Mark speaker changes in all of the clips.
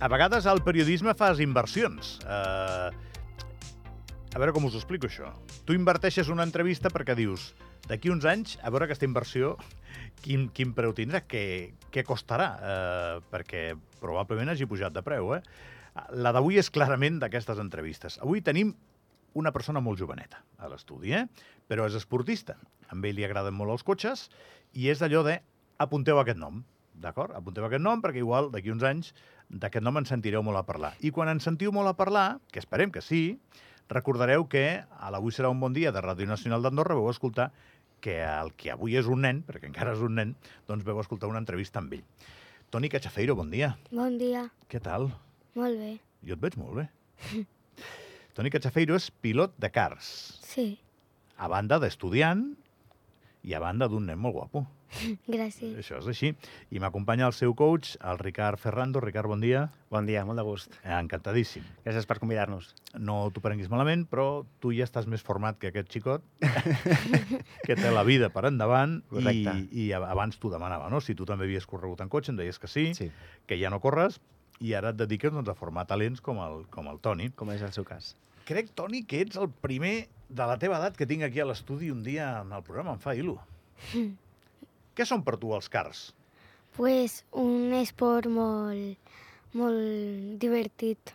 Speaker 1: a vegades al periodisme fas inversions. Eh, a veure com us ho explico, això. Tu inverteixes una entrevista perquè dius d'aquí uns anys, a veure aquesta inversió, quin, quin preu tindrà, què, què costarà, eh, perquè probablement hagi pujat de preu. Eh? La d'avui és clarament d'aquestes entrevistes. Avui tenim una persona molt joveneta a l'estudi, eh? però és esportista. A ell li agraden molt els cotxes i és allò de apunteu aquest nom, d'acord? Apunteu aquest nom perquè igual d'aquí uns anys d'aquest nom en sentireu molt a parlar. I quan en sentiu molt a parlar, que esperem que sí, Recordareu que a l'Avui serà un bon dia de Ràdio Nacional d'Andorra veu escoltar que el que avui és un nen, perquè encara és un nen, doncs veu escoltar una entrevista amb ell. Toni Cachafeiro, bon dia.
Speaker 2: Bon dia,
Speaker 1: Què tal?
Speaker 2: molt bé,
Speaker 1: Jo et veig molt bé. Toni Cachafeiro és pilot de cars,
Speaker 2: sí,
Speaker 1: a banda d'estudiant i a banda d'un nen molt guapo.
Speaker 2: gràcies.
Speaker 1: Això és així. I m'acompanya el seu coach, el Ricard Ferrando. Ricard, bon dia. Eh,
Speaker 3: Bon dia, molt de gust.
Speaker 1: Encantadíssim.
Speaker 3: Gràcies per convidar-nos.
Speaker 1: no t'ho prenguis malament, però tu ja estàs més format que aquest xicot, que té la vida per endavant, i,
Speaker 3: Correcte.
Speaker 1: i ab- abans t'ho demanava, no? Si tu també havies corregut en cotxe, em deies que sí, sí.
Speaker 3: Sí,
Speaker 1: que ja no corres, i ara et dediques doncs, a formar talents com el, com el Toni.
Speaker 3: com és el seu cas.
Speaker 1: Crec, Toni, que ets el primer de la teva edat que tinc aquí a l'estudi un dia en el programa, em fa il·lu. Què són per tu els cars?
Speaker 2: Pues un esport molt, molt divertit.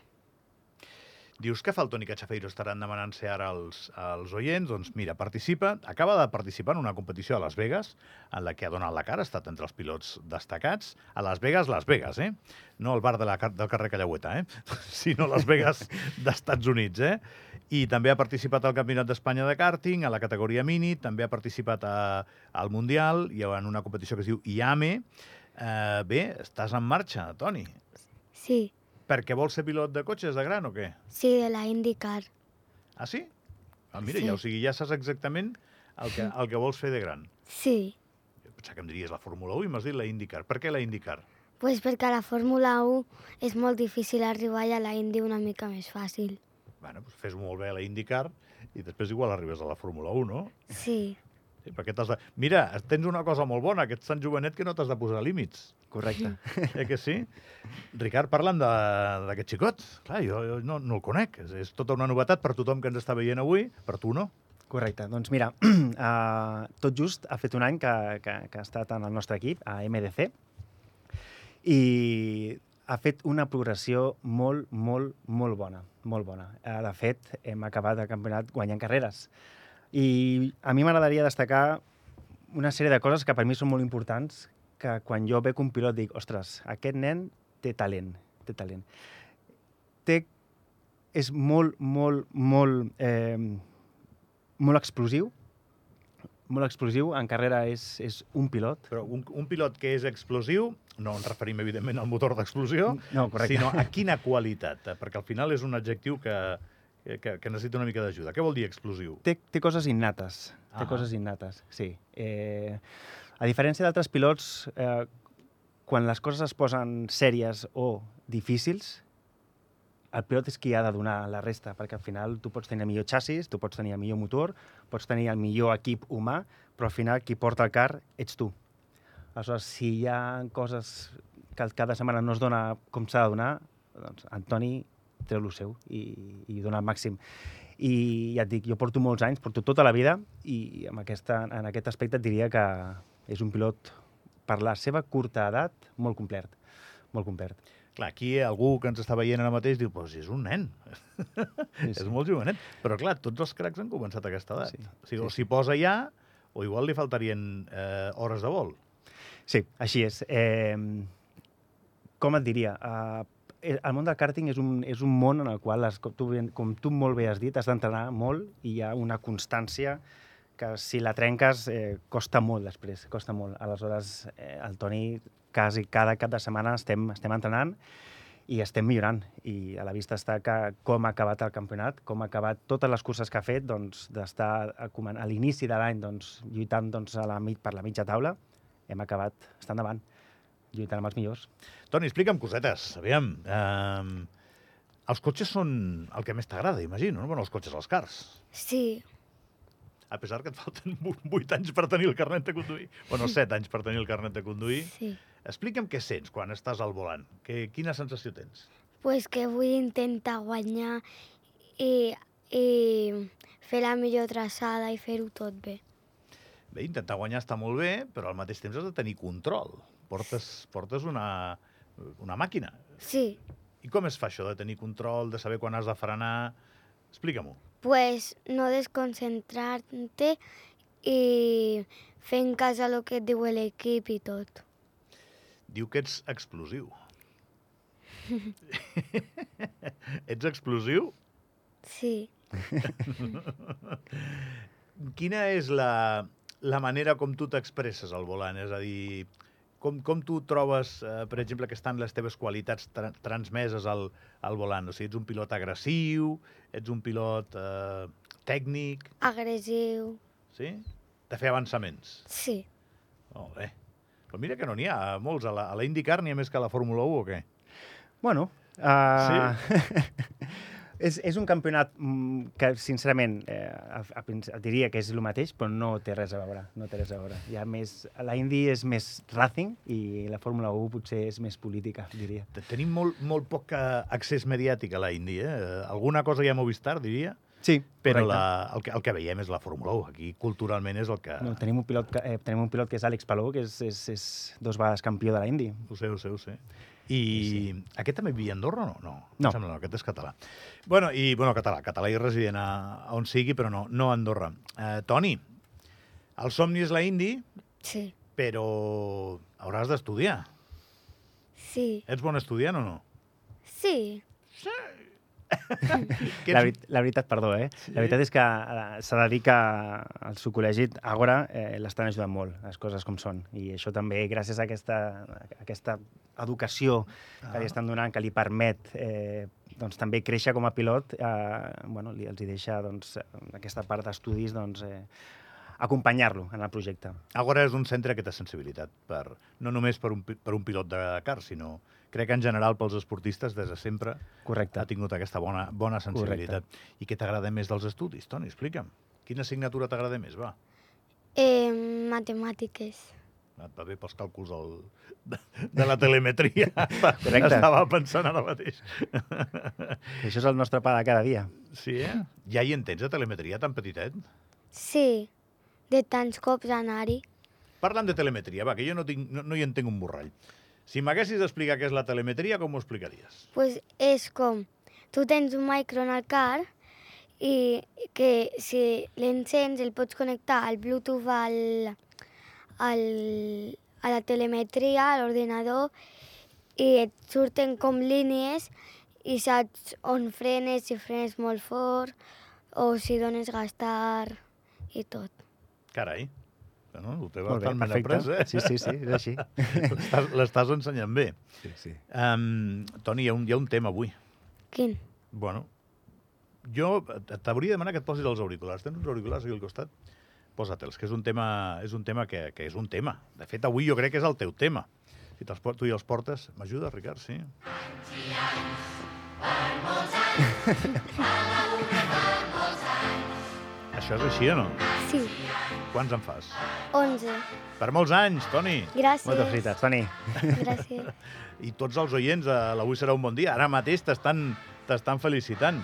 Speaker 1: Dius que fa el Toni Cachafeiro estaran demanant ser ara els, els oients, doncs mira, participa, acaba de participar en una competició a Las Vegas, en la que ha donat la cara, ha estat entre els pilots destacats, a Las Vegas, Las Vegas, eh? No el bar de la, car- del carrer Callaueta, eh? Sinó Las Vegas d'Estats Units, eh? I també ha participat al Campionat d'Espanya de kàrting, a la categoria mini, també ha participat a, al Mundial i en una competició que es diu IAME. Eh, bé, estàs en marxa, Toni.
Speaker 2: Sí,
Speaker 1: Perquè vols ser pilot de cotxes de gran o què?
Speaker 2: sí, de la IndyCar.
Speaker 1: Ah, sí? Ah, mira,
Speaker 2: Sí.
Speaker 1: ja, o sigui, ja saps exactament el que, el que vols fer de gran.
Speaker 2: Sí,
Speaker 1: Jo Pensava que em diries la Fórmula 1 i m'has dit la IndyCar. Per què la IndyCar?
Speaker 2: pues perquè a la Fórmula 1 és molt difícil arribar i a la Indy una mica més fàcil.
Speaker 1: Bueno, doncs fes molt bé a la IndyCar i després igual arribes a la Fórmula 1, no?
Speaker 2: Sí,
Speaker 1: Sí, perquè t'has de... Mira, tens una cosa molt bona, que ets tan jovenet que no t'has de posar límits.
Speaker 3: Correcte.
Speaker 1: Eh que sí? Ricard, parlant de- d'aquest xicot, clar, jo, jo no, no el conec. És, és tota una novetat per tothom que ens està veient avui, per tu no.
Speaker 3: Correcte. Doncs mira, uh, tot just ha fet un any que, que, que ha estat en el nostre equip, a MDC, i ha fet una progressió molt, molt, molt bona. Molt bona. Eh, De fet, hem acabat el campionat guanyant carreres. I a mi m'agradaria destacar una sèrie de coses que per mi són molt importants, que quan jo veig un pilot dic, ostres, aquest nen té talent, té talent. Té, és molt, molt, molt, eh, molt explosiu, molt explosiu, en carrera és, és un pilot.
Speaker 1: Però un, un pilot que és explosiu, no ens referim, evidentment, al motor d'explosió,
Speaker 3: No, correcte.
Speaker 1: sinó a quina qualitat, eh? perquè al final és un adjectiu que, eh, que, que necessita una mica d'ajuda. Què vol dir explosiu?
Speaker 3: té, té coses innates. Té
Speaker 1: Ah.
Speaker 3: coses innates, sí. Eh, a diferència d'altres pilots, eh, quan les coses es posen sèries o difícils, el pilot és qui ha de donar la resta, perquè al final tu pots tenir el millor xassis, tu pots tenir el millor motor, pots tenir el millor equip humà, però al final qui porta el car ets tu. Aleshores, si hi ha coses que cada setmana no es dona com s'ha de donar, doncs Antoni treu el seu i, i dona el màxim. I ja et dic, jo porto molts anys, porto tota la vida, i amb aquesta, en aquest aspecte et diria que és un pilot, per la seva curta edat, molt complet. Molt complet.
Speaker 1: Clar, aquí algú que ens està veient ara mateix diu, pues és un nen,
Speaker 3: Sí,
Speaker 1: és molt jovenet. Però clar, tots els cracs han començat a aquesta edat.
Speaker 3: Sí,
Speaker 1: Sí, o sigui,
Speaker 3: sí,
Speaker 1: o s'hi posa ja, o igual li faltarien eh, hores de vol.
Speaker 3: sí així és. Eh, com et diria? Eh, el món del càrting és un, és un món en el qual, es, com, tu, ben- com tu molt bé has dit, has d'entrenar molt i hi ha una constància que si la trenques eh, costa molt després, costa molt. Aleshores, eh, el Toni quasi cada cap de setmana estem, estem entrenant i estem millorant. I a la vista està que com ha acabat el campionat, com ha acabat totes les curses que ha fet, doncs, d'estar a, comen- a l'inici de l'any doncs, lluitant doncs, a la mig, per la mitja taula, hem acabat estant davant, lluitant amb els millors.
Speaker 1: Toni, explica'm cosetes, aviam. Eh, els cotxes són el que més t'agrada, imagino, no? Bueno, els cotxes, els cars.
Speaker 2: sí,
Speaker 1: A pesar que et falten 8 anys per tenir el carnet de conduir. Bueno, 7 anys per tenir el carnet de conduir.
Speaker 2: sí,
Speaker 1: Explica'm què sents quan estàs al volant. Que, quina sensació tens?
Speaker 2: pues que vull intentar guanyar i, i fer la millor traçada i fer-ho tot bé.
Speaker 1: Bé, intentar guanyar està molt bé, però al mateix temps has de tenir control. Portes, portes una, una màquina.
Speaker 2: Sí,
Speaker 1: I com es fa això de tenir control, de saber quan has de frenar? Explica-m'ho.
Speaker 2: pues no desconcentrar-te i fer en casa el que et diu l'equip i tot.
Speaker 1: Diu que ets explosiu. ets explosiu?
Speaker 2: Sí,
Speaker 1: Quina és la, la manera com tu t'expresses al volant? És a dir, com, com tu trobes, eh, per exemple, que estan les teves qualitats tra transmeses al, al volant? O sigui, ets un pilot agressiu, ets un pilot eh, tècnic,
Speaker 2: agressiu,
Speaker 1: sí? De fer avançaments.
Speaker 2: sí.
Speaker 1: Molt bé. Però mira que no n'hi ha molts. A la, a la IndyCar n'hi ha més que a la Fórmula 1 o què?
Speaker 3: Bueno, uh, sí. és, és un campionat mm, que, sincerament, eh, a, a, princ- diria que és el mateix, però no té res a veure. No té res a veure. Ja més, la Indy és més racing i la Fórmula 1 potser és més política, diria.
Speaker 1: Te- Tenim molt, molt poc eh, accés mediàtic a la Indy, eh? Eh, Alguna cosa hi ha a Movistar, diria,
Speaker 3: Sí,
Speaker 1: però la, el, que, el que veiem és la Fórmula 1. Aquí culturalment és el que...
Speaker 3: No, tenim, un pilot que, eh, tenim un pilot que és Àlex Palou, que és, és, és dos vegades campió de la Indy.
Speaker 1: Ho sé, ho sé, ho sé. I aquest també vivia a Andorra o no? No, em
Speaker 3: No.
Speaker 1: Sembla, no, aquest és català. Bueno, i, bueno, català, català i resident a, a on sigui, però no, no a Andorra. Eh, Toni, el somni és la Indy,
Speaker 2: Sí,
Speaker 1: però hauràs d'estudiar.
Speaker 2: sí,
Speaker 1: Ets bon estudiant o no?
Speaker 2: sí,
Speaker 1: Que
Speaker 3: La,
Speaker 1: ets-
Speaker 3: veri- la veritat, perdó, eh? Sí. La veritat és que eh, s'ha de dir que el seu col·legi Agora eh, l'estan ajudant molt, les coses com són. I això també gràcies a aquesta, a aquesta educació
Speaker 1: Ah.
Speaker 3: que li estan donant, que li permet eh, doncs, també créixer com a pilot, eh, bueno, li, els hi deixa doncs, aquesta part d'estudis doncs, eh, acompanyar-lo en el projecte.
Speaker 1: Agora és un centre que té sensibilitat, per, no només per un, pi- per un pilot de car, sinó crec que en general pels esportistes des de sempre
Speaker 3: Correcte.
Speaker 1: ha tingut aquesta bona, bona sensibilitat. Correcte. I què t'agrada més dels estudis, Toni? Explica'm. Quina assignatura t'agrada més, va?
Speaker 2: eh, matemàtiques.
Speaker 1: Et va bé pels càlculs del, de, de la telemetria.
Speaker 3: Correcte.
Speaker 1: Estava pensant ara mateix.
Speaker 3: Això és el nostre pa de cada dia.
Speaker 1: Sí, eh? Ja hi entens, de telemetria, tan petitet?
Speaker 2: Sí, de tants cops anar-hi.
Speaker 1: Parlant de telemetria, va, que jo no, tinc, no, no hi entenc un borrall. Si m'haguessis d'explicar què és la telemetria, com ho explicaries?
Speaker 2: pues és com, tu tens un micro en el car i que si l'encens el pots connectar al Bluetooth al, al, a la telemetria, a l'ordinador, i et surten com línies i saps on frenes, si frenes molt fort o si dones gastar i tot.
Speaker 1: Carai. Bueno, ho té
Speaker 3: Molt bé,
Speaker 1: bastant ben
Speaker 3: perfecte.
Speaker 1: après, eh?
Speaker 3: Sí, sí, sí, és així.
Speaker 1: L'estàs- L'estàs ensenyant bé.
Speaker 3: Sí, sí.
Speaker 1: Um, Toni, hi ha, un, hi ha un tema avui.
Speaker 2: Quin?
Speaker 1: Bueno, jo t- t'hauria de demanar que et posis els auriculars. Tens uns auriculars aquí al costat? Posa-te'ls, que és un tema, és un tema que, que és un tema. De fet, avui jo crec que és el teu tema. Si te'ls po- tu i els portes... M'ajudes, Ricard, sí? Això és així o no?
Speaker 2: Sí,
Speaker 1: Quants en fas?
Speaker 2: 11.
Speaker 1: Per molts anys, Toni!
Speaker 2: Gràcies.
Speaker 3: Moltes felicitats, Toni.
Speaker 2: Gràcies.
Speaker 1: i tots els oients de l'Avui serà un bon dia, ara mateix t'estan t'estan felicitant.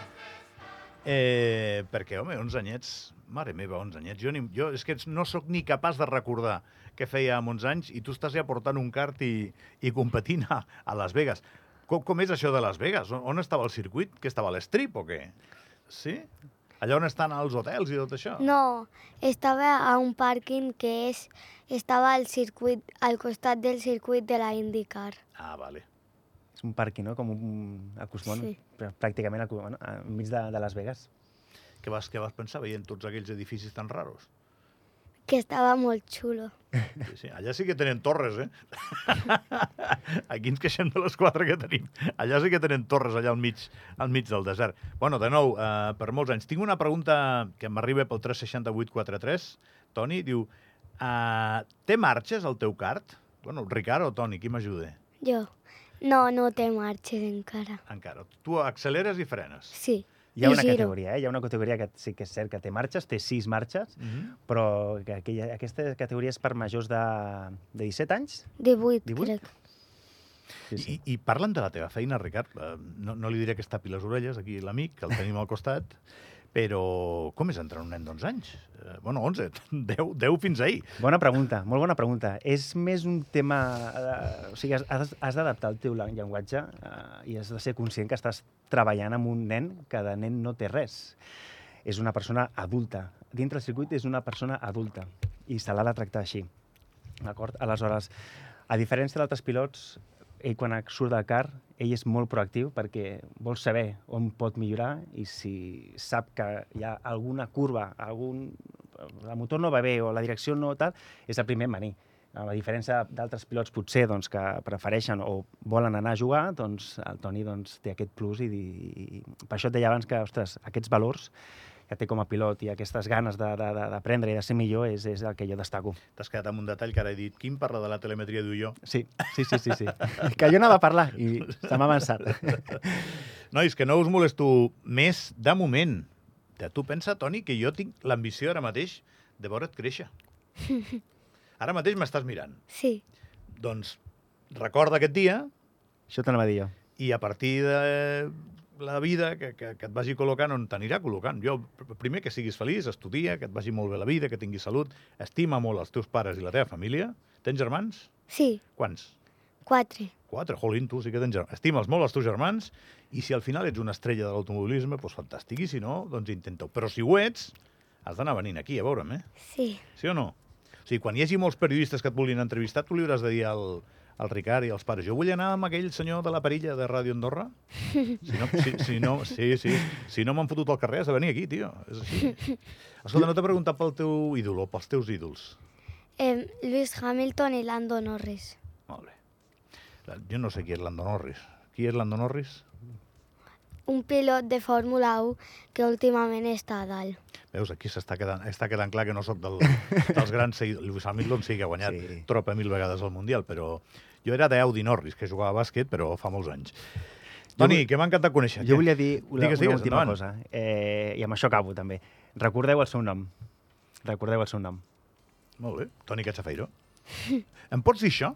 Speaker 1: Eh, perquè, home, 11 anyets, mare meva, 11 anyets, jo, ni, jo és que ets- no sóc ni capaç de recordar què feia amb 11 anys i tu estàs ja portant un kart i, i competint a, a Las Vegas. Com, com és això de Las Vegas? On, on estava el circuit? Que estava a l'estrip o què? Sí? Allà on estan els hotels i tot això?
Speaker 2: No, estava a un pàrquing que és, estava al, circuit, al costat del circuit de la IndyCar.
Speaker 1: Ah, vale.
Speaker 3: És un pàrquing, no? Com un acostumant,
Speaker 2: Sí.
Speaker 3: sí. pràcticament acu- bueno, enmig de, de Las Vegas.
Speaker 1: Què vas, què vas pensar veient tots aquells edificis tan raros?
Speaker 2: Que estava molt xulo.
Speaker 1: Sí, sí. Allà sí que tenen torres, eh? Aquí ens queixem de les quatre que tenim. Allà sí que tenen torres, allà al mig, al mig del desert. Bueno, de nou, eh, per molts anys. Tinc una pregunta que m'arriba pel 36843. Toni diu, eh, té marxes el teu kart? Bueno, Ricard o Toni, qui m'ajuda?
Speaker 2: Jo. No, no té marxes encara.
Speaker 1: Encara. Tu acceleres i frenes.
Speaker 2: Sí,
Speaker 3: Hi ha
Speaker 2: I
Speaker 3: una
Speaker 2: giro.
Speaker 3: categoria, eh? Hi ha una categoria que sí que és cert que té marxes, té sis marxes,
Speaker 1: Mm
Speaker 3: però que aquella, aquesta categoria és per majors de, de 17 anys.
Speaker 2: 18,
Speaker 3: 18?
Speaker 2: 18? crec.
Speaker 3: Sí, sí.
Speaker 1: I, I parlen de la teva feina, Ricard. Eh, No, no li diré que es tapi les orelles, aquí l'amic, que el tenim al costat, però com és entrar un nen d'11 anys? Eh, bueno, 11, 10, 10 fins ahir.
Speaker 3: Bona pregunta, molt bona pregunta. És més un tema... Eh, o sigui, has- has, has d'adaptar el teu llen- llenguatge eh, i has de ser conscient que estàs treballant amb un nen que de nen no té res. És una persona adulta. Dintre el circuit és una persona adulta i se l'ha de tractar així. D'acord? Aleshores, a diferència d'altres pilots, ell quan surt del car, ell és molt proactiu perquè vol saber on pot millorar i si sap que hi ha alguna curva, algun... el motor no va bé o la direcció no tal, és el primer en venir. A diferència d'altres pilots potser doncs, que prefereixen o volen anar a jugar, doncs el Toni doncs, té aquest plus i, i, i per això et deia abans que, ostres, aquests valors que té com a pilot i aquestes ganes de- de- de- d'aprendre i de ser millor és, és el que jo destaco.
Speaker 1: T'has quedat amb un detall que ara he dit, Quim parla de la telemetria, diu jo.
Speaker 3: Sí, sí, sí, sí. sí. que jo anava a parlar i se m'ha avançat.
Speaker 1: Nois, que no us molesto més de moment. De tu pensa, Toni, que jo tinc l'ambició ara mateix de veure't créixer. Ara mateix m'estàs mirant.
Speaker 2: Sí.
Speaker 1: Doncs recorda aquest dia
Speaker 3: Això t'anava a dir jo.
Speaker 1: i a partir de la vida que, que, que et vagi col·locant on t'anirà col·locant. Jo, pr- primer que siguis feliç, estudia, que et vagi molt bé la vida, que tinguis salut, estima molt els teus pares i la teva família. Tens germans?
Speaker 2: Sí,
Speaker 1: Quants?
Speaker 2: 4.
Speaker 1: Quatre, jolín, tu sí que tens germans. Estima'ls molt, els teus germans, i si al final ets una estrella de l'automobilisme, doncs fantàstic, i si no, doncs intenta-ho. Però si ho ets, has d'anar venint aquí a veure'm, eh?
Speaker 2: Sí,
Speaker 1: Sí o no? O sigui, quan hi hagi molts periodistes que et vulguin entrevistar, tu li hauràs de dir al, al Ricard i als pares, jo vull anar amb aquell senyor de la perilla de Ràdio Andorra. Si no, si, si no, sí, sí, si no m'han fotut al carrer, has de venir aquí, tio. És així. Escolta, no t'he preguntat pel teu ídol o pels teus ídols.
Speaker 2: eh, Lewis Hamilton i Lando Norris.
Speaker 1: Molt bé. Jo no sé qui és Lando Norris. Qui és Lando Norris?
Speaker 2: Un pilot de Fórmula 1 que últimament està a dalt.
Speaker 1: Veus, aquí s'està quedant, està quedant clar que no sóc del, dels grans seguidors. Lewis Hamilton sí que ha guanyat sí.
Speaker 3: Sí.
Speaker 1: tropa mil vegades al Mundial, però jo era d'Audi Norris, que jugava a bàsquet, però fa molts anys. Toni,
Speaker 3: vull-
Speaker 1: que m'ha encantat conèixer.
Speaker 3: Jo volia dir una,
Speaker 1: Digues,
Speaker 3: una
Speaker 1: digues,
Speaker 3: última
Speaker 1: endavant.
Speaker 3: cosa, eh, i amb això acabo també. Recordeu el seu nom. Recordeu el seu nom.
Speaker 1: Molt bé, Toni Catxafeiro. em pots dir això?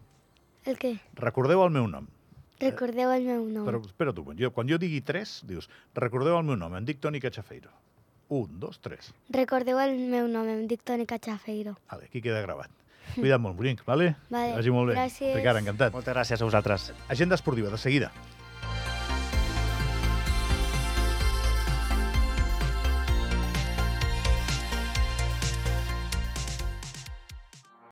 Speaker 2: El què?
Speaker 1: Recordeu el meu nom.
Speaker 2: Recordeu el meu nom.
Speaker 1: Eh, Però espera tu, quan jo, quan jo digui tres, dius, recordeu el meu nom, em dic Toni Catxafeiro. Un, dos, tres.
Speaker 2: Recordeu el meu nom, em dic Toni Cachafeiro.
Speaker 1: Vale, aquí queda gravat. Cuida't molt, Brinc, vale?
Speaker 2: Vale,
Speaker 1: Que vagi molt bé.
Speaker 2: gràcies.
Speaker 1: Ricard, encantat.
Speaker 3: Moltes gràcies a vosaltres.
Speaker 1: Agenda esportiva, de seguida.